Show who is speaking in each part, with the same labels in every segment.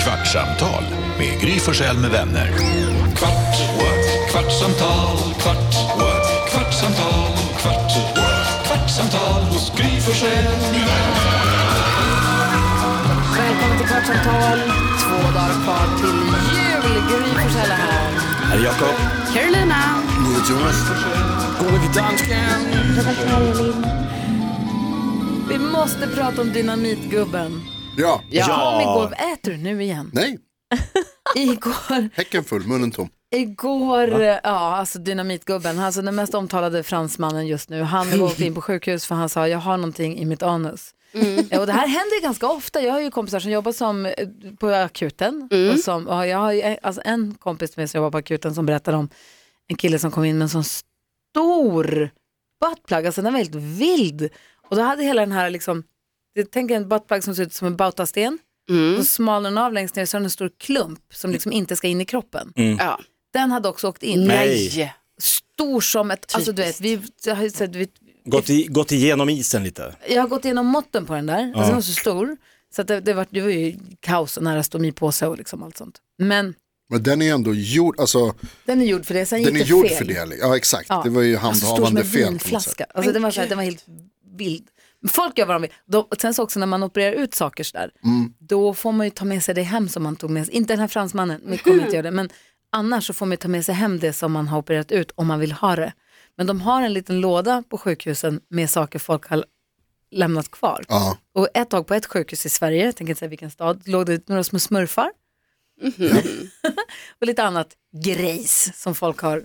Speaker 1: Kvartsamtal med Gry Forssell med vänner. Kvart, what? kvartsamtal, kvart, what? kvartsamtal, kvart, what? kvartsamtal hos Gry Forssell med vänner.
Speaker 2: Välkommen till Kvartsamtal. Två dagar kvar till jul. Gry Forssell är här.
Speaker 3: Är det Jakob?
Speaker 2: Carolina.
Speaker 3: Jonas? Gullig dansken?
Speaker 2: Vi måste prata om dynamitgubben.
Speaker 4: Ja.
Speaker 2: Kom igår. Äter du nu igen?
Speaker 4: Nej,
Speaker 2: Igår,
Speaker 4: häcken full, munnen tom.
Speaker 2: igår, eh, ja alltså dynamitgubben, alltså den mest omtalade fransmannen just nu. Han åkte in på sjukhus för han sa jag har någonting i mitt anus. Eh, Och det här händer ju ganska ofta. Jag har ju kompisar som jobbar som, eh, på akuten. Och som, och jag har ju eh, alltså en kompis med som jobbar på akuten som berättar om en kille som kom in med en sån stor buttplug, alltså den var helt vild. Och då hade hela den här liksom, det- tänk en buttplug som ser ut som en bautasten, mm. så smalnar den av längst ner så har den en stor klump som liksom inte ska in i kroppen.
Speaker 5: Ja.
Speaker 2: Den hade också åkt in,
Speaker 5: Nej.
Speaker 2: stor som ett, alltså du vet, vi, jag har ju sett, vi,
Speaker 3: Gått, i, gått igenom isen lite.
Speaker 2: jag har gått igenom måtten på den där, alltså den var så stor. Så att det, det, var, det var ju kaos och nära stomipåse och liksom allt sånt. Men
Speaker 4: Men den är ändå gjord, alltså
Speaker 2: den är gjord för det, sen
Speaker 4: den är
Speaker 2: gick det
Speaker 4: gjord
Speaker 2: fel.
Speaker 4: för det. Ja exakt,
Speaker 2: Ja.
Speaker 4: det var ju
Speaker 2: Alltså, stor som
Speaker 4: handhavande
Speaker 2: en
Speaker 4: fel. på något sätt.
Speaker 2: vinflaska. Alltså, den, var så här, den var helt vild. Men Folk gör vad de vill. De, och sen så också när man opererar ut saker sådär,
Speaker 4: Mm.
Speaker 2: då får man ju ta med sig det hem som man tog med sig. Inte den här fransmannen, vi kommer inte göra det, men annars så får man ju ta med sig hem det som man har opererat ut om man vill ha det. Men de har en liten låda på sjukhusen med saker folk har lämnat kvar.
Speaker 4: Ja.
Speaker 2: Och ett tag på ett sjukhus i Sverige, jag tänker inte säga vilken stad, låg det några små smurfar. Mhm. och lite annat grejs som folk har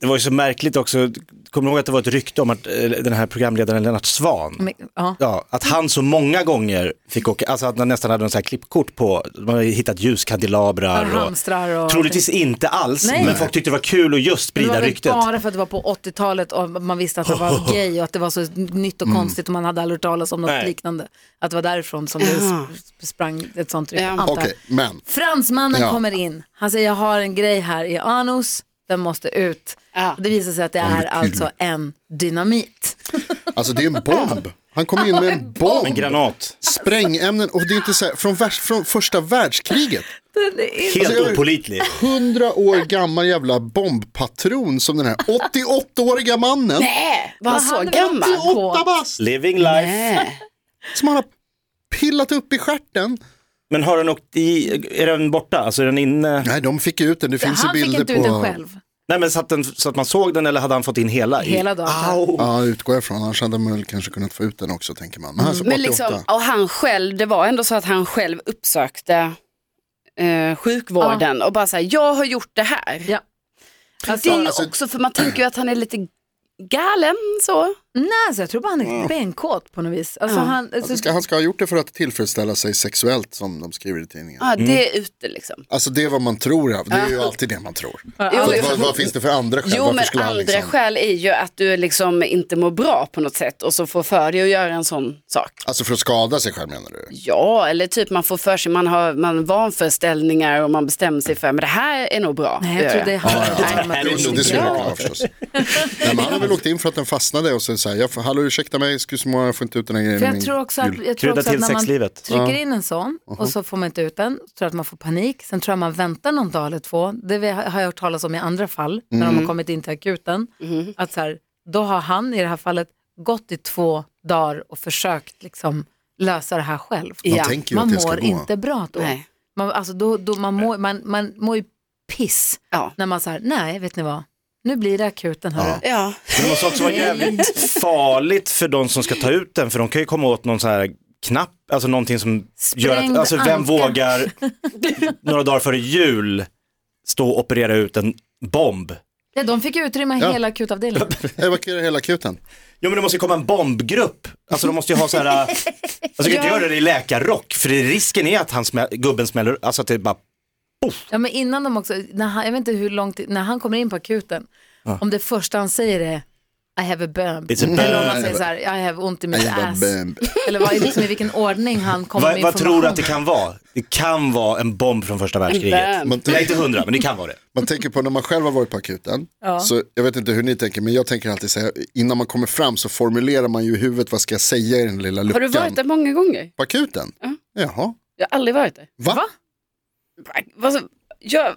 Speaker 3: Det var ju så märkligt också, kommer du ihåg att det var ett rykte om att eh, den här programledaren Lennart Svan
Speaker 2: med, ja.
Speaker 3: Ja, att han så många gånger fick åka, alltså att han nästan hade en sån här klippkort på, man har ju hittat ljuskandelabrar
Speaker 2: Ja, hamstrar och-
Speaker 3: troligtvis inte alls,
Speaker 2: Nej.
Speaker 3: men folk tyckte det var kul att just
Speaker 2: Men det
Speaker 3: sprida
Speaker 2: var väl
Speaker 3: ryktet.
Speaker 2: bara för att det var på 80-talet och man visste att det var gay och att det var så nytt och konstigt och man hade aldrig hört talas om något
Speaker 3: Nej.
Speaker 2: liknande. Att det var därifrån som det sp- sprang ett sånt rykte.
Speaker 5: Ja.
Speaker 2: antar jag.
Speaker 4: Okej, men
Speaker 2: Fransmannen
Speaker 4: Ja.
Speaker 2: kommer in. Han säger jag har en grej här i anus, den måste ut.
Speaker 5: Ja.
Speaker 2: Och det visar sig att det är alltså en dynamit.
Speaker 4: alltså det är en bomb. Han kom in med en
Speaker 3: En
Speaker 4: bomb.
Speaker 3: granat,
Speaker 4: Sprängämnen och det är inte så här, från, värst, från första världskriget.
Speaker 2: Den är
Speaker 3: helt
Speaker 4: Alltså, jag-
Speaker 3: opålitlig.
Speaker 4: Hundra år gammal jävla bombpatron som den här 88-åriga mannen.
Speaker 5: Nej, var han
Speaker 2: Vad
Speaker 5: så
Speaker 2: hade vi
Speaker 5: gammal?
Speaker 2: åttio-
Speaker 4: 88 bast
Speaker 3: Living life.
Speaker 5: Nej.
Speaker 4: som han har pillat upp i stjärten.
Speaker 3: Men har den åkt i, är den borta, alltså är den inne?
Speaker 4: Nej, de fick ut den, det finns ju
Speaker 2: Han fick
Speaker 4: bilder
Speaker 2: inte ut den
Speaker 4: på...
Speaker 2: själv.
Speaker 3: Nej men satt den, så att man såg den eller hade han fått in hela? i-
Speaker 2: Hela dagen.
Speaker 3: Au.
Speaker 4: Ja, utgår jag från. Annars hade man väl kanske kunnat få ut den också, tänker man. Men,
Speaker 2: Mm.
Speaker 4: alltså, 88.
Speaker 5: Men liksom, och han själv, det var ändå så att han själv uppsökte eh, sjukvården och bara såhär, jag har gjort det här.
Speaker 2: Ja.
Speaker 5: det är ju
Speaker 4: alltså-
Speaker 5: också för man tänker ju att han är lite galen så.
Speaker 2: Nej, alltså, jag tror bara han är benkåt på något vis. Alltså, han, alltså,
Speaker 4: Han ska, han ska ha gjort det för att tillfredsställa sig sexuellt, som de skriver i tidningen.
Speaker 5: Ja, det är ute liksom.
Speaker 4: Alltså det är vad man tror, ja. det är ju alltid det man tror.
Speaker 5: Jo,
Speaker 4: Så,
Speaker 5: jo.
Speaker 4: vad, vad finns det för andra skäl?
Speaker 5: Jo
Speaker 4: Varför
Speaker 5: men
Speaker 4: skulle han
Speaker 5: andra
Speaker 4: liksom-
Speaker 5: skäl är ju att du liksom inte mår bra på något sätt och så får för dig att göra en sån sak.
Speaker 4: Alltså för att skada sig själv menar du?
Speaker 5: Ja, eller typ man får för sig, man har man vanföreställningar och man bestämmer sig för, men det här är nog bra.
Speaker 2: nej, jag tror det handlar om att
Speaker 4: Jo, jo, det skulle
Speaker 2: Ja.
Speaker 4: man klara förstås. Nej, men han har väl åkt in för att den fastnade och sen så här, jag får, hallå ursäkta mig, excuse me, jag får inte ut den här grejen.
Speaker 2: För
Speaker 4: i min
Speaker 2: jag tror också att,
Speaker 4: jul. Uh-huh.
Speaker 2: jag tror
Speaker 3: Krydda
Speaker 2: också att
Speaker 3: till
Speaker 2: när man
Speaker 3: sexlivet.
Speaker 2: trycker in en sån och så får man inte ut den, så tror jag att man får panik. Sen tror jag man väntar någon dag eller två. Det vi- har jag hört talas om i andra fall, när
Speaker 4: Mm.
Speaker 2: de har kommit in till akuten. Att så här, då har han i det här fallet gått i två dagar och försökt liksom lösa det här själv.
Speaker 4: Man
Speaker 5: Ja,
Speaker 4: tänker ju
Speaker 2: Man
Speaker 4: att det ska
Speaker 2: mår
Speaker 4: gå.
Speaker 2: inte bra då.
Speaker 5: Nej.
Speaker 2: Man, alltså då, då man, mår, man, man mår ju piss
Speaker 5: Ja.
Speaker 2: när man säger nej, vet ni vad, nu blir det akuten. Hörru.
Speaker 5: Ja.
Speaker 3: Men Det måste också vara jävligt farligt för de som ska ta ut den, för de kan ju komma åt någon sån här knapp, alltså någonting som gör att,
Speaker 2: Sprängd
Speaker 3: alltså vem
Speaker 2: anka.
Speaker 3: vågar några dagar före jul stå och operera ut en bomb?
Speaker 2: Ja, de fick ju utrymma
Speaker 4: Ja.
Speaker 2: hela akutavdelningen.
Speaker 4: Evakuera hela akuten.
Speaker 3: Jo men det måste ju komma en bombgrupp, alltså de måste ju ha så här, äh, alltså du kan inte göra det i läkarrock, för det- risken är att han smä, gubben smäller, alltså att det bara,
Speaker 2: Ja, men innan de också, när han, jag vet inte hur långt, när han kommer in på akuten, om det första han säger är I have a bump.
Speaker 3: It's a
Speaker 2: Eller om han
Speaker 3: bump.
Speaker 2: säger så här, I have ont i mitt
Speaker 4: I have a
Speaker 2: ass.
Speaker 4: bump.
Speaker 2: Eller vad, liksom, i vilken ordning han kommer
Speaker 3: vad,
Speaker 2: med
Speaker 3: vad
Speaker 2: information.
Speaker 3: tror du att det kan vara? Det kan vara en bomb från första världskriget.
Speaker 5: En
Speaker 3: Jag är inte hundra, men det kan vara det.
Speaker 4: Man tänker på när man själv har varit på akuten, så jag vet inte hur ni tänker, men jag tänker alltid så här, innan man kommer fram så formulerar man ju i huvudet, vad ska jag säga i den lilla luckan?
Speaker 5: Har du varit där många gånger?
Speaker 4: På akuten? Jaha,
Speaker 5: Jag har aldrig varit där.
Speaker 4: va?
Speaker 5: Vad så- Jag,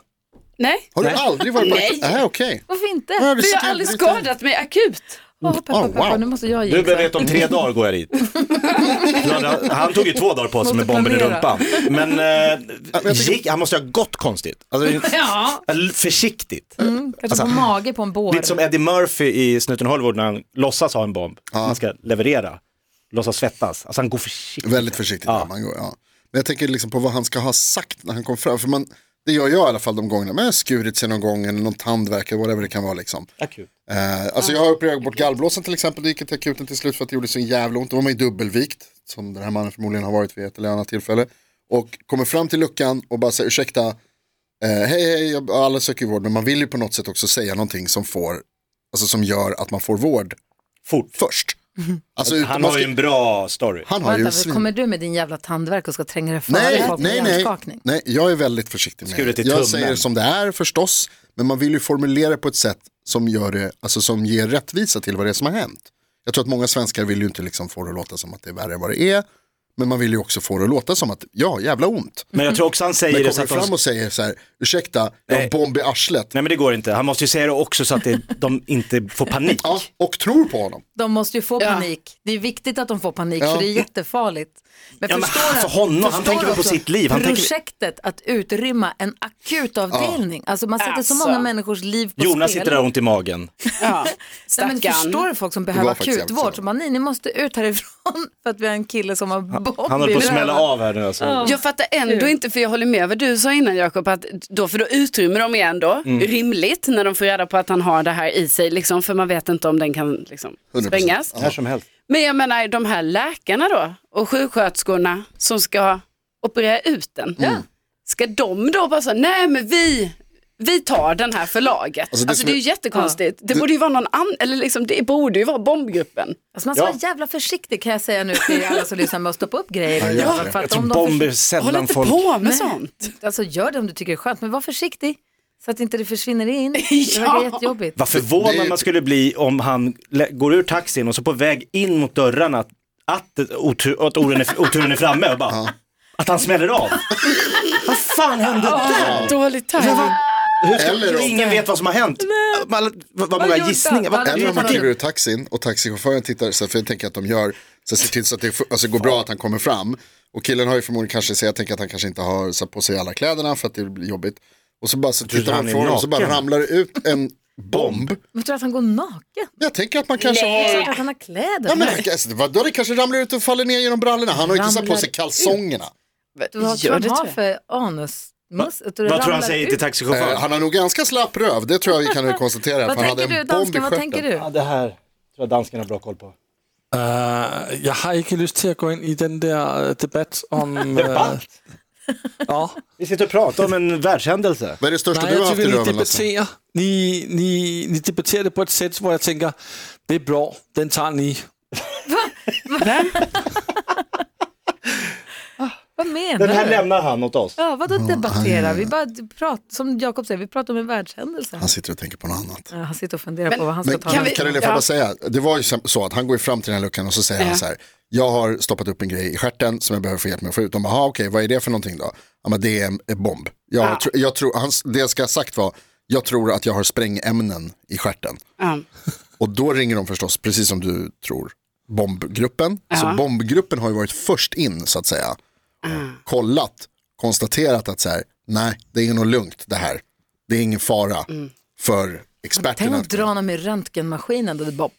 Speaker 5: nej,
Speaker 4: Har du aldrig varit på
Speaker 5: Nej.
Speaker 4: akuten? Nej, okej.
Speaker 2: Varför inte?
Speaker 4: Ja, det-
Speaker 5: för jag har aldrig skadat mig akut.
Speaker 2: Åh, peppa,
Speaker 4: Oh,
Speaker 2: peppa,
Speaker 4: wow.
Speaker 2: nu måste jag
Speaker 3: Du
Speaker 2: ge.
Speaker 3: vet om tre dagar går jag dit. Ja, det- Han tog ju två dagar på sig med
Speaker 2: Måste
Speaker 3: bomben i
Speaker 2: planera.
Speaker 3: rumpan. Men eh,
Speaker 4: jag tycker-
Speaker 3: gick, han måste ju ha gått konstigt. Alltså, det är-
Speaker 2: Ja, Mm,
Speaker 3: eller försiktigt.
Speaker 2: kanske på mage på en bår.
Speaker 3: Lite som Eddie Murphy i Snuten Hollywood när han låtsas ha en bomb. Han ska leverera. Låtsas svettas. Alltså han går försiktigt.
Speaker 4: Väldigt försiktigt. när Man går, ja. Men jag tänker liksom på vad han ska ha sagt när han kom fram. För man, det gör jag i alla fall de gångerna. Man har skurit sig någon gång eller någon tandvärk eller whatever det kan vara. Liksom.
Speaker 3: Akut.
Speaker 4: Eh, alltså jag har opererat bort gallblåsan till exempel. Det gick till akuten till slut för att det gjorde så jävla ont. Då var man ju dubbelvikt. Som den här mannen förmodligen har varit vid ett eller annat tillfälle. Och kommer fram till luckan och bara säger ursäkta. Eh, hej hej, jag- alla söker ju vård. Men man vill ju på något sätt också säga någonting som får. Alltså som gör att man får vård
Speaker 3: Fort.
Speaker 4: först. Alltså, utan-
Speaker 3: Mm-hmm. Han
Speaker 4: man
Speaker 3: har ju
Speaker 4: ska-
Speaker 3: en bra story.
Speaker 4: han har ju en
Speaker 2: Vänta,
Speaker 4: svin-
Speaker 2: kommer du med din jävla tandvärk och ska tränga dig före
Speaker 4: Nej,
Speaker 2: folk
Speaker 4: nej,
Speaker 2: med
Speaker 4: nej,
Speaker 2: hjärnskakning?
Speaker 4: nej, jag är väldigt försiktig med
Speaker 3: Skuret
Speaker 4: det.
Speaker 3: i
Speaker 4: Jag
Speaker 3: tummen.
Speaker 4: säger som det är förstås, men man vill ju formulera på ett sätt som, gör det, alltså som ger rättvisa till vad det är som har hänt. Jag tror att många svenskar vill ju inte liksom få det att låta som att det är värre än vad det är, men man vill ju också få det att låta som att, ja, jävla ont.
Speaker 3: Men jag tror också han säger
Speaker 4: Men
Speaker 3: det
Speaker 4: kommer
Speaker 3: så
Speaker 4: du
Speaker 3: att de...
Speaker 4: fram och säger så här, ursäkta, jag har
Speaker 3: Nej.
Speaker 4: en bomb i arslet.
Speaker 3: Nej men det går inte. Han måste ju säga det också så att det, de inte får panik.
Speaker 4: Ja, och tror på honom.
Speaker 2: De måste ju få
Speaker 5: Ja.
Speaker 2: panik. Det är viktigt att de får panik
Speaker 4: Ja.
Speaker 2: för det är jättefarligt. Men
Speaker 3: Ja, men
Speaker 2: förstår
Speaker 3: han-
Speaker 2: du-
Speaker 3: för honom, han
Speaker 2: förstår
Speaker 3: tänker
Speaker 2: du
Speaker 3: väl på
Speaker 2: också
Speaker 3: sitt liv, han tänker-
Speaker 2: projektet att utrymma en akutavdelning. Alltså man sätter så
Speaker 5: Alltså.
Speaker 2: många människors liv på
Speaker 3: Jonas
Speaker 2: spel.
Speaker 3: sitter där ont i magen.
Speaker 5: Ja,
Speaker 2: Nej, men förstår
Speaker 5: stackarn.
Speaker 2: du folk som
Speaker 4: Det
Speaker 2: behöver
Speaker 4: var faktiskt jävligt
Speaker 2: akutvård?
Speaker 4: så.
Speaker 2: Som bara, nej, ni måste ut härifrån för att vi har en kille som har bomb
Speaker 3: Han håller
Speaker 2: i
Speaker 3: på att
Speaker 2: röven.
Speaker 3: smälla av här nu alltså.
Speaker 5: Jag fattar ändå inte, för jag håller med vad du sa innan Jakob, att då, för då utrymmer de igen då,
Speaker 4: Mm.
Speaker 5: rimligt, när de får reda på att han har det här i sig, liksom, för man vet inte om den kan liksom,
Speaker 4: 100%.
Speaker 5: sprängas.
Speaker 3: När som helst.
Speaker 5: Men jag menar de här läkarna då och sjuksköterskorna som ska operera ut den. Ska de då bara säga, nej men vi, vi tar den här för laget. Alltså
Speaker 4: Alltså,
Speaker 5: det,
Speaker 4: det som
Speaker 5: är ju
Speaker 4: är-
Speaker 5: jättekonstigt. Det borde ju vara någon annan, eller liksom det borde ju vara bombgruppen.
Speaker 2: Alltså man ska
Speaker 3: Ja.
Speaker 2: vara jävla försiktig kan jag säga nu till alla som lyssnar med att stoppa upp grejer.
Speaker 4: Ja,
Speaker 2: Ja,
Speaker 4: jag
Speaker 2: för
Speaker 3: Jag
Speaker 2: att
Speaker 3: tror
Speaker 2: om de
Speaker 3: bomber
Speaker 2: försvinner,
Speaker 5: Håll
Speaker 3: sällan
Speaker 5: inte
Speaker 3: folk...
Speaker 5: på med sånt.
Speaker 2: alltså gör det om du tycker det är skönt, men var försiktig så att inte det försvinner in. Det
Speaker 5: Ja.
Speaker 2: verkar jättejobbigt.
Speaker 3: Vad förvånad
Speaker 4: Det är ju-
Speaker 3: man skulle bli om han lä- går ur taxin och så på väg in mot dörrarna att, att, otur, att oturen, är, oturen är framme och bara, att han smäller av. vad fan hände där?
Speaker 5: Dålig tajming.
Speaker 3: Hur ska,
Speaker 4: Eller om-
Speaker 3: ingen vet vad som har hänt. Man, vad vad många
Speaker 2: gjorde
Speaker 3: gissningar.
Speaker 2: han?
Speaker 3: Vad,
Speaker 2: Eller
Speaker 4: Eller om man kliver
Speaker 3: vad,
Speaker 4: ur taxin och taxichauffören tittar, så här, för jag tänker att de gör, så ser till så att det f- alltså, går bra att han kommer fram. Och killen har ju förmodligen kanske, så jag tänker att han kanske inte har så här, på sig alla kläderna för att det blir jobbigt. Och så bara så
Speaker 3: tror
Speaker 4: tittar
Speaker 3: han
Speaker 4: han
Speaker 3: är
Speaker 4: på honom och så bara
Speaker 3: naken?
Speaker 4: ramlar det ut en bomb.
Speaker 2: Men tror du att han går naken?
Speaker 4: Jag tänker att man kanske
Speaker 2: Jag
Speaker 4: har...
Speaker 2: tror att han har Alltså, kläder.
Speaker 4: Ja, men, alltså, vadå, det kanske ramlar ut och faller ner genom brallorna. Han har ju inte satt på
Speaker 2: Ramlar
Speaker 4: sig kalsongerna.
Speaker 2: du, vad tror
Speaker 5: Gör
Speaker 2: han
Speaker 5: det,
Speaker 2: har
Speaker 5: tror jag.
Speaker 2: för anusmus?
Speaker 3: vad tror han säger till taxichauffören?
Speaker 4: Eh, han har nog ganska slapp röv, det tror jag vi kan konstatera.
Speaker 2: Vad
Speaker 4: för han hade
Speaker 2: tänker
Speaker 4: en
Speaker 2: du
Speaker 4: bomb i
Speaker 2: dansken, vad
Speaker 4: stjärten.
Speaker 2: tänker du?
Speaker 3: Ja, det här tror jag danskarna har bra koll på.
Speaker 6: Øh, jeg har ikke lyst til at gå ind i den der øh, debat om... øh,
Speaker 3: Debat?
Speaker 6: Nå,
Speaker 3: Vi sitter och pratar om en världshändelse.
Speaker 4: Vad är det största
Speaker 6: nej,
Speaker 4: du har
Speaker 6: jeg
Speaker 4: haft i
Speaker 6: vil lige
Speaker 4: röven Lasse?
Speaker 6: debattere. Ni, ni, ni debatterer det på et sæt, hvor jeg tænker, det er bra, den tager ni.
Speaker 2: Vad
Speaker 3: Den
Speaker 2: menar
Speaker 3: här
Speaker 2: du?
Speaker 3: lämnar han åt oss.
Speaker 2: Ja, vadå debatterar? Vi bara pratar, som Jakob säger, vi pratar om en världshändelse.
Speaker 4: Han sitter och tänker på något annat.
Speaker 2: Ja, Han sitter och funderar på vad han ska
Speaker 4: Men
Speaker 2: ta
Speaker 4: kan,
Speaker 2: med.
Speaker 4: vi,
Speaker 5: vi-
Speaker 4: kan du bara
Speaker 5: ja.
Speaker 4: säga, det var ju så att han går ju fram till den här luckan och så säger han så här, jag har stoppat upp en grej i stjärten som jag behöver få hjälp med att få ut. De bara, "Aha, okej, vad är det för någonting då? Ja, men det är en en bomb. Jag, tr- jag tror, hans, det jag ska ha sagt var, jag tror att jag har sprängämnen i stjärten.
Speaker 5: Ja.
Speaker 4: Och då ringer de förstås, precis som du tror, bombgruppen. Så bombgruppen har ju varit först in så att säga. Kollat, konstaterat att så här, nej, det är nog lugnt det här. Det är ingen fara för
Speaker 2: Tänk
Speaker 4: experterna.
Speaker 2: att dra honom i röntgenmaskinen och det bara...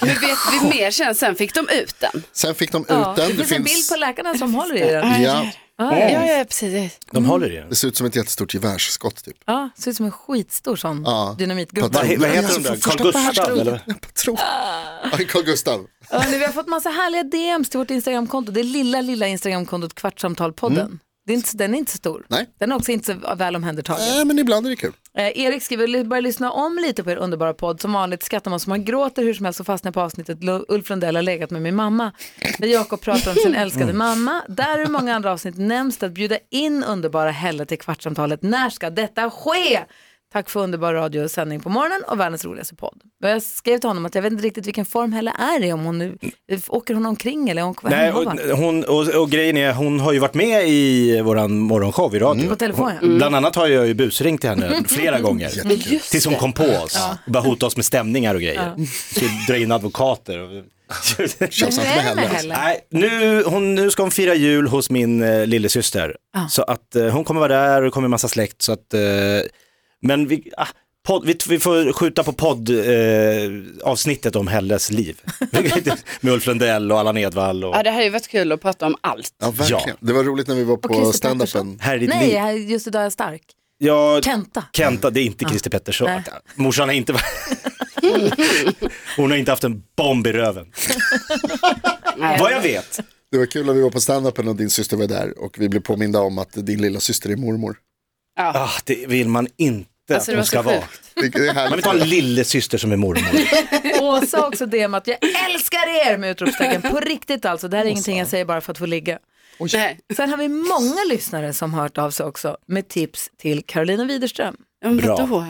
Speaker 5: Men vet vi mer sen, sen fick de ut den.
Speaker 4: Sen fick de ut
Speaker 2: Ja,
Speaker 4: den.
Speaker 2: det finns en bild på läkarna som håller i den.
Speaker 4: Ja,
Speaker 5: Ja, ja, precis.
Speaker 3: De håller i den.
Speaker 4: det ser ut som ett jättestort gevärsskott typ.
Speaker 2: Ja, ser ut som en skitstor sån
Speaker 4: Ja.
Speaker 2: dynamitgubbe.
Speaker 3: Vad, he- vad heter
Speaker 4: Alltså,
Speaker 3: de där?
Speaker 4: för första
Speaker 3: Carl Gustaf
Speaker 4: världskriget.
Speaker 3: eller?
Speaker 4: Patron.
Speaker 2: Ah.
Speaker 4: Ja, Carl Gustav.
Speaker 2: Ja, nu, vi har fått massa härliga DMs till vårt Instagramkonto. Det lilla, lilla Instagramkontot Kvartsamtalpodden. Det är inte, den är inte så stor.
Speaker 4: Nej.
Speaker 2: Den är också inte så väl omhändertagen.
Speaker 4: Nej, men ibland är det kul.
Speaker 2: Eh, Erik skriver, börja lyssna om lite på er underbara podd. Som vanligt skrattar man så man gråter hur som helst och fastnar på avsnittet Lo- Ulf Lundell har legat med min mamma. Där Jakob pratar om sin älskade mamma. Där hur många andra avsnitt nämns det att bjuda in underbara Helle till Kvartsamtalet. När ska detta ske? Tack för underbar radio och sändning på morgonen och världens roligaste podd. Och jag skrev till honom att jag vet inte riktigt vilken form heller är i, om hon nu, åker hon omkring eller om hon
Speaker 3: Nej,
Speaker 2: hon
Speaker 3: och,
Speaker 2: bara-
Speaker 3: hon, och, och grejen är, hon har ju varit med i våran morgonshow i radio.
Speaker 2: Mm. På telefon, ja.
Speaker 3: Hon, Bland annat har jag ju busringt till henne flera gånger. tills hon kom på oss och började hota oss med stämningar och grejer. Skulle dra in advokater. Och...
Speaker 4: Tjafsar inte med
Speaker 2: Vem är
Speaker 4: heller.
Speaker 2: heller?
Speaker 3: Nej, nu, hon, nu ska hon fira jul hos min eh, lillasyster. Så att eh, hon kommer vara där och det kommer en massa släkt. Så att, eh, men vi, ah, podd, vi, vi får skjuta på poddavsnittet eh, avsnittet om Helles liv. med Ulf Lundell och Allan Edwall. Och...
Speaker 5: Ja, det hade ju varit kul att prata om allt.
Speaker 4: Ja, verkligen. Det var roligt när vi var på
Speaker 2: Christer
Speaker 4: stand-upen.
Speaker 3: Här är ditt
Speaker 2: Nej,
Speaker 3: liv.
Speaker 2: jag- just idag är jag stark.
Speaker 3: Ja,
Speaker 2: Kenta.
Speaker 3: Kenta, det är
Speaker 5: Ah.
Speaker 3: inte Christer Pettersson.
Speaker 2: Nej.
Speaker 3: Morsan har inte Hon har inte haft en bomb i röven.
Speaker 5: Nej.
Speaker 3: Vad jag vet.
Speaker 4: Det var kul när vi var på stand-upen och din syster var där och vi blev påminda om att din lilla syster är mormor.
Speaker 3: Ah, det vill man inte
Speaker 5: Alltså,
Speaker 3: att
Speaker 5: det var
Speaker 3: hon ska
Speaker 5: så
Speaker 3: vara.
Speaker 5: sjukt.
Speaker 4: Det det är
Speaker 3: Man
Speaker 4: härligt.
Speaker 3: vill ta en lillesyster som är mormor.
Speaker 2: Åsa också det med att jag älskar er med utropstecken. På riktigt alltså, det här är ingenting jag säger bara för att få ligga.
Speaker 5: Nej.
Speaker 2: Sen har vi många lyssnare som har hört av sig också med tips till Carolina Widerström.
Speaker 5: Ja, men
Speaker 3: Bra.
Speaker 5: vadå?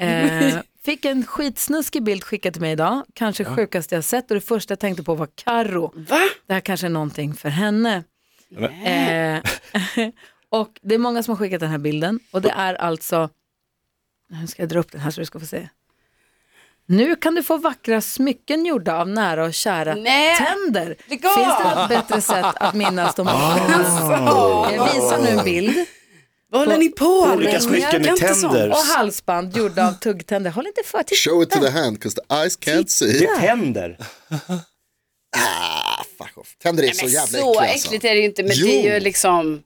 Speaker 2: Eh, fick en skitsnuskig bild skickad till mig idag, kanske sjukaste jag sett och det första jag tänkte på var Karo.
Speaker 5: Va?
Speaker 2: Det här kanske är någonting för henne. Eh, och det är många som har skickat den här bilden och det är alltså, nu ska jag dra upp den här så du ska få se. Nu kan du få vackra smycken gjorda av nära och kära
Speaker 5: Nej.
Speaker 2: tänder.
Speaker 5: Lägg
Speaker 2: Finns det
Speaker 5: av.
Speaker 2: något bättre sätt att minnas dem?
Speaker 3: Ah.
Speaker 2: Oh. Jag visar nu en bild.
Speaker 5: Vad håller ni på med?
Speaker 3: Olika smycken med
Speaker 5: Verkar inte så.
Speaker 3: tänder.
Speaker 2: Och halsband gjorda av tuggtänder. Håll inte för, titta.
Speaker 4: Show it to the hand, 'cause the eyes can't
Speaker 3: Det
Speaker 4: see.
Speaker 3: tänder.
Speaker 4: Ah, fuck off. Tänder är så
Speaker 5: Men
Speaker 4: jävla
Speaker 5: så
Speaker 4: äckliga alltså.
Speaker 5: äckligt är det ju inte, men det är ju
Speaker 4: Jo.
Speaker 5: liksom...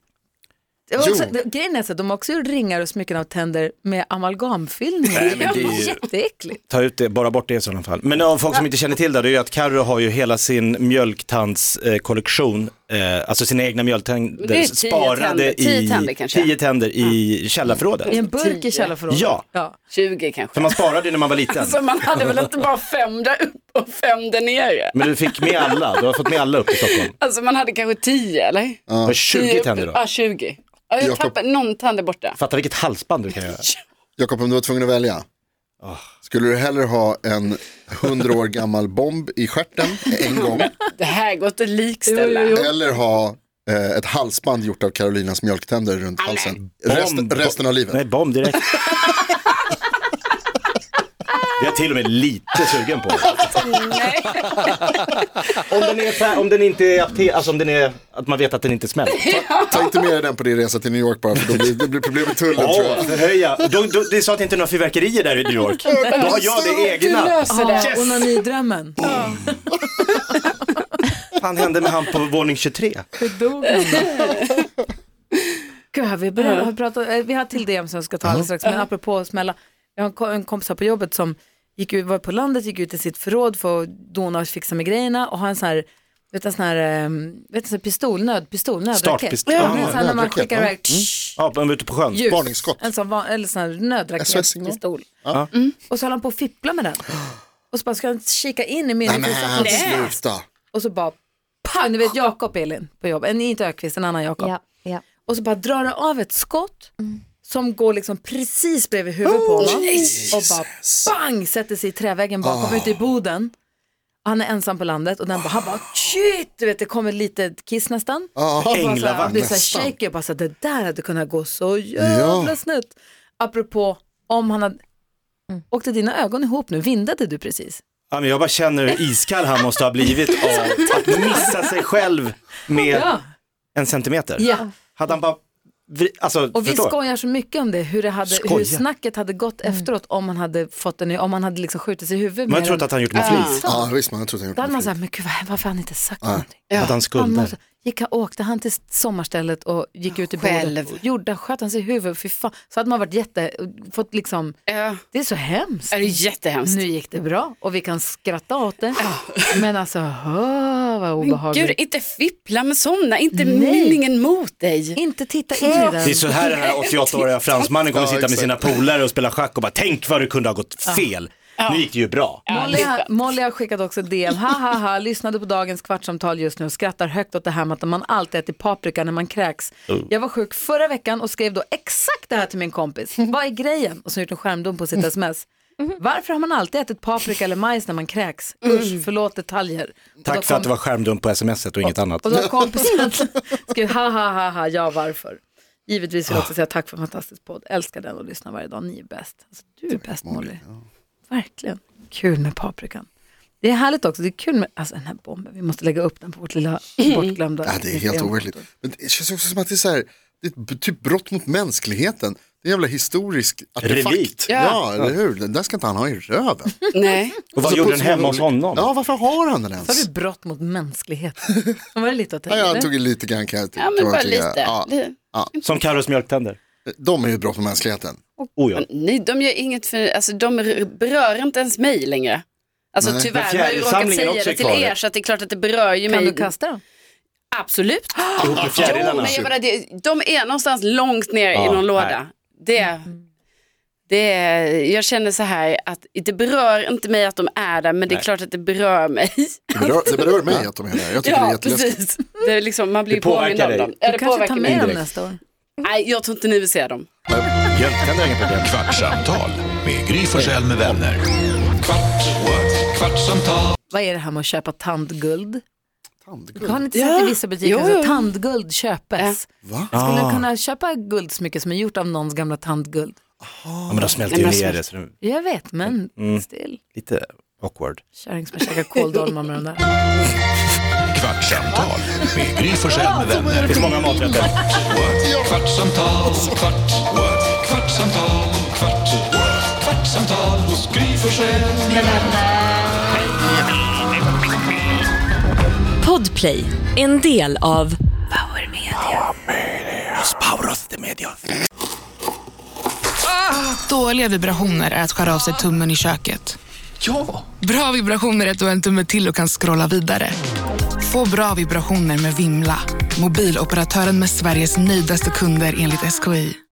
Speaker 2: Det var också,
Speaker 4: Jo.
Speaker 2: det- grejen är så att de har också gjort ringar och smycken av tänder med amalgamfyllningar.
Speaker 3: Nej, men det är ju-
Speaker 2: Jätteäckligt.
Speaker 3: Ta ut det, bara bort det i sådana fall. Men av folk som inte känner till det, det är ju att Carro har ju hela sin mjölktandskollektion, eh, alltså sina egna mjölktänder,
Speaker 5: Det är tio tänder,
Speaker 3: sparade
Speaker 5: tio
Speaker 3: i
Speaker 5: tänder kanske.
Speaker 3: tio tänder i källarförrådet.
Speaker 2: I en burk i
Speaker 5: Tio.
Speaker 2: källarförrådet.
Speaker 3: Ja.
Speaker 5: 20
Speaker 3: För
Speaker 5: kanske.
Speaker 3: man sparade ju när man var liten.
Speaker 5: Alltså man hade väl inte bara fem där uppe och fem där nere?
Speaker 3: Men du fick med alla, du har fått med alla upp i Stockholm.
Speaker 5: Alltså man hade kanske 10 eller?
Speaker 3: Du har
Speaker 5: Tio
Speaker 3: 20
Speaker 5: uppe-
Speaker 3: tänder då.
Speaker 5: Ja, 20. Ja, jag
Speaker 4: Jakob.
Speaker 5: tappade någon tand där borta.
Speaker 3: Fatta vilket halsband du kan göra.
Speaker 4: Jakob, om du var tvungen att välja.
Speaker 3: Ah.
Speaker 4: Skulle du hellre ha en 100 år gammal bomb i stjärten en gång
Speaker 5: Det här går inte att likställa.
Speaker 2: Jo, jo,
Speaker 4: eller ha eh, ett halsband gjort av Carolinas mjölktänder runt halsen resten,
Speaker 3: Bomb.
Speaker 4: resten av livet?
Speaker 3: Nej, bomb direkt. Det är jag till och med lite sugen på.
Speaker 5: Nej.
Speaker 3: Om den, är, så här- om den inte är apte- alltså om den är, att man vet att den inte smäller.
Speaker 4: Ta inte med dig den på din resa till New York bara för då blir det blir problem med tullen tror
Speaker 3: Åh,
Speaker 4: jag.
Speaker 3: förhöja. Då, då, det sa att det inte är några fyrverkerier där i New York. Då har jag det
Speaker 5: Du
Speaker 3: egna. Ah.
Speaker 5: löser det.
Speaker 2: Ja, onanidrömmen.
Speaker 3: Vad hände med han på våning 23?
Speaker 2: Det dog han. Gud, vi, behöver, har pratat, eh, vi har till DM som jag ska ta alldeles strax, men apropå att smälla. Jag har en ko- en kompis här på jobbet som gick ut, var på landet, gick ut i sitt förråd för att dona och fixa med grejerna och har en sån här Vet du, en sån här, eh, vet du, en sån här pistolnöd, pistolnödraket.
Speaker 3: Startpistol.
Speaker 2: Ja, men så här när man
Speaker 4: nödraket,
Speaker 2: skickar
Speaker 4: ja.
Speaker 2: iväg, tsch,
Speaker 3: Ja, men ute på sjön.
Speaker 2: ljus.
Speaker 4: Varningsskott.
Speaker 2: En sån, van- eller sån här
Speaker 4: SOS-signal.
Speaker 2: nödraket-pistol.
Speaker 4: Ja.
Speaker 2: Mm. Och så håller han på och fipplar med den. Och så bara, ska han kika in i
Speaker 4: Nej
Speaker 2: minnet? och så att han
Speaker 4: men alltså, sluta.
Speaker 2: och så bara pang, du vet Jakob Elin på jobbet, nej inte Ökvist, en annan Jakob.
Speaker 7: Ja, ja.
Speaker 2: Och så bara drar det av ett skott
Speaker 4: Mm.
Speaker 2: som går liksom precis bredvid huvudet
Speaker 4: Oh,
Speaker 2: på honom och bara bang sätter sig i träväggen
Speaker 4: Ah.
Speaker 2: bakom ute i boden. Han är ensam på landet och den bara, han bara shit, du vet det kommer lite kiss nästan.
Speaker 4: Ja,
Speaker 2: Och bara så här,
Speaker 3: Änglavakt.
Speaker 2: Han blir så här
Speaker 4: Nästan.
Speaker 2: shaky och bara så här, det där hade kunnat gå så jävla
Speaker 4: Ja.
Speaker 2: snett. Apropå om han hade,
Speaker 4: Mm.
Speaker 2: åkte dina ögon ihop nu, vindade du precis?
Speaker 3: Ja, men jag bara känner hur iskall han måste ha blivit av att missa sig själv med en centimeter.
Speaker 2: ja.
Speaker 3: Hade han bara, vri- alltså
Speaker 2: Och vi
Speaker 3: förstår.
Speaker 2: skojar så mycket om det, hur, det hade, hur
Speaker 3: Skoja.
Speaker 2: snacket hade gått
Speaker 5: Mm.
Speaker 2: efteråt om man hade fått en ny, om man hade liksom skjutit sig i huvudet
Speaker 3: Man
Speaker 2: med
Speaker 3: trodde
Speaker 2: den.
Speaker 3: att han gjort det med flis.
Speaker 4: ja visst man, jag trodde jag
Speaker 2: Då hade
Speaker 4: gjorde
Speaker 2: man
Speaker 4: det.
Speaker 2: sagt, men gud vad- varför har han inte
Speaker 3: Ah,
Speaker 2: sagt någonting?
Speaker 3: Att han
Speaker 2: Han
Speaker 3: skulder.
Speaker 2: måste- gick han, åkte han till sommarstället och gick ut i
Speaker 5: Själv.
Speaker 2: bålet, och gjorde, sköt han sig i huvudet, fy fan. Så hade man varit jätte, fått liksom,
Speaker 5: Ja,
Speaker 2: det är så hemskt.
Speaker 5: det är jättehemskt.
Speaker 2: Nu gick det bra och vi kan skratta åt det. Men alltså, åh, vad obehagligt.
Speaker 5: Ah. Gud, inte fippla med sådana, inte
Speaker 2: Nej.
Speaker 5: meningen mot dig.
Speaker 2: Inte titta in i
Speaker 3: Det är
Speaker 2: den.
Speaker 3: så här den här 88-åriga fransmannen kommer
Speaker 4: Ja,
Speaker 3: sitta med
Speaker 4: exakt.
Speaker 3: sina polare och spela schack och bara tänk vad det kunde ha gått fel. Nu gick det ju bra.
Speaker 5: Ja,
Speaker 2: Molly, har,
Speaker 5: lite.
Speaker 2: Molly har skickat också ett DM. Ha, ha, ha, lyssnade på dagens kvartsamtal just nu och skrattar högt åt det här med att man alltid äter paprika när man kräks.
Speaker 3: Oh.
Speaker 2: Jag var sjuk förra veckan och skrev då exakt det här till min kompis. Vad är grejen? Och så har jag gjort en skärmdump på
Speaker 3: Mm.
Speaker 2: sitt sms. Varför har man alltid ätit paprika eller majs när man kräks? Usch, förlåt detaljer. Och då
Speaker 3: Mm. Tack för
Speaker 2: kom-
Speaker 3: att det var skärmdump på smset och inget annat.
Speaker 2: Och då har kompisen skrivit ha, ha, ha, ha, ja varför? Givetvis vill jag
Speaker 4: Ah.
Speaker 2: också säga tack för en fantastisk podd. Älskar den och lyssnar varje dag. Ni är bäst. Alltså, du är bäst Molly. Verkligen. Kul med paprikan. Det är härligt också. Det är kul med, alltså den här bomben. Vi måste lägga upp den på vårt lilla bortglömda.
Speaker 4: Mm. Ja, det är helt overkligt. Men det känns också som att det är så här, det är ett b- typ brott mot mänskligheten. Det är en jävla historisk artefakt.
Speaker 3: Relikt.
Speaker 4: Ja.
Speaker 5: Ja.
Speaker 4: eller hur? Den där ska inte han ha i röven.
Speaker 5: Nej.
Speaker 3: Och vad
Speaker 4: Alltså,
Speaker 3: gjorde
Speaker 4: på
Speaker 3: den
Speaker 4: så
Speaker 3: hemma hos
Speaker 4: roligt-
Speaker 3: honom?
Speaker 4: Ja, varför har han den
Speaker 2: Sa
Speaker 4: ens?
Speaker 2: du brott mot mänskligheten? Var det lite åt
Speaker 4: Ja, jag
Speaker 2: det?
Speaker 4: antog lite grann kan jag
Speaker 5: Ja,
Speaker 4: kan
Speaker 5: men
Speaker 4: man
Speaker 5: bara
Speaker 4: tycka.
Speaker 5: lite.
Speaker 4: Ja,
Speaker 5: Li-
Speaker 3: Som Carros mjölktänder.
Speaker 4: de är ju ett brott mot mänskligheten.
Speaker 3: Oh ja.
Speaker 5: Nej, de gör inget för, alltså de r- berör inte ens mig längre. Alltså
Speaker 4: Nej.
Speaker 5: tyvärr
Speaker 3: Men
Speaker 5: har jag ju råkat
Speaker 3: fjärilsamlingen
Speaker 5: säga
Speaker 3: också
Speaker 5: det
Speaker 3: är
Speaker 5: till
Speaker 3: kvar.
Speaker 5: er så att det är klart att det berör ju
Speaker 2: Kan
Speaker 5: mig.
Speaker 2: du kasta den?
Speaker 5: Absolut.
Speaker 3: Ihop med
Speaker 5: Jo, men jag
Speaker 3: fjärilarna.
Speaker 5: menar, det, de är någonstans långt ner
Speaker 3: Ja,
Speaker 5: i någon
Speaker 3: nej.
Speaker 5: låda. Det,
Speaker 2: Mm.
Speaker 5: det, jag känner så här att det berör inte mig att de är där, men det är klart att det berör mig.
Speaker 4: Det berör, det berör mig att de är där. Jag tycker det är jätteläskigt.
Speaker 5: Det är liksom, man blir
Speaker 3: Det påverkar
Speaker 5: påmind om
Speaker 3: dig.
Speaker 5: dem. Ja,
Speaker 2: Du
Speaker 5: det
Speaker 2: kanske
Speaker 5: påverkar
Speaker 2: tar med
Speaker 5: mig.
Speaker 2: den
Speaker 3: indirekt.
Speaker 2: nästa år?
Speaker 5: Nej, jag tror inte ni vill se dem.
Speaker 3: Mjölktänder är inget problem.
Speaker 1: Kvartsamtal med Gry Forssell med vänner. Kvart, what? kvartsamtal,
Speaker 2: Vad är det här med att köpa tandguld?
Speaker 4: Tandguld?
Speaker 2: Har ni inte
Speaker 5: Ja.
Speaker 2: sett i vissa butiker
Speaker 5: Jo,
Speaker 2: att
Speaker 5: jo.
Speaker 2: tandguld köpes?
Speaker 4: Va?
Speaker 2: Skulle
Speaker 3: Ah.
Speaker 2: du kunna köpa guldsmycke som är gjort av någons gamla tandguld?
Speaker 3: Ja, men de smälter
Speaker 5: Nej,
Speaker 3: ju
Speaker 5: men
Speaker 3: ner
Speaker 5: smält-
Speaker 3: det så det är
Speaker 2: Jag vet, men
Speaker 5: Mm.
Speaker 2: still.
Speaker 3: lite awkward.
Speaker 2: Kärring som har käkat kåldolmar med de där.
Speaker 1: kvartsamtal med Gry Forssell med vänner.
Speaker 3: Det finns många maträtter.
Speaker 1: What? Kvartsamtal, kvart, what? kvartsamtal, kvart, what? kvartsamtal hos Gry Forssell med
Speaker 7: Podplay, en del av
Speaker 8: Dåliga vibrationer är att skära av sig tummen i köket. Ja! Bra vibrationer är att du har en tumme till och kan scrolla vidare. Få bra vibrationer med Vimla. Mobiloperatören med Sveriges nöjdaste kunder enligt SKI.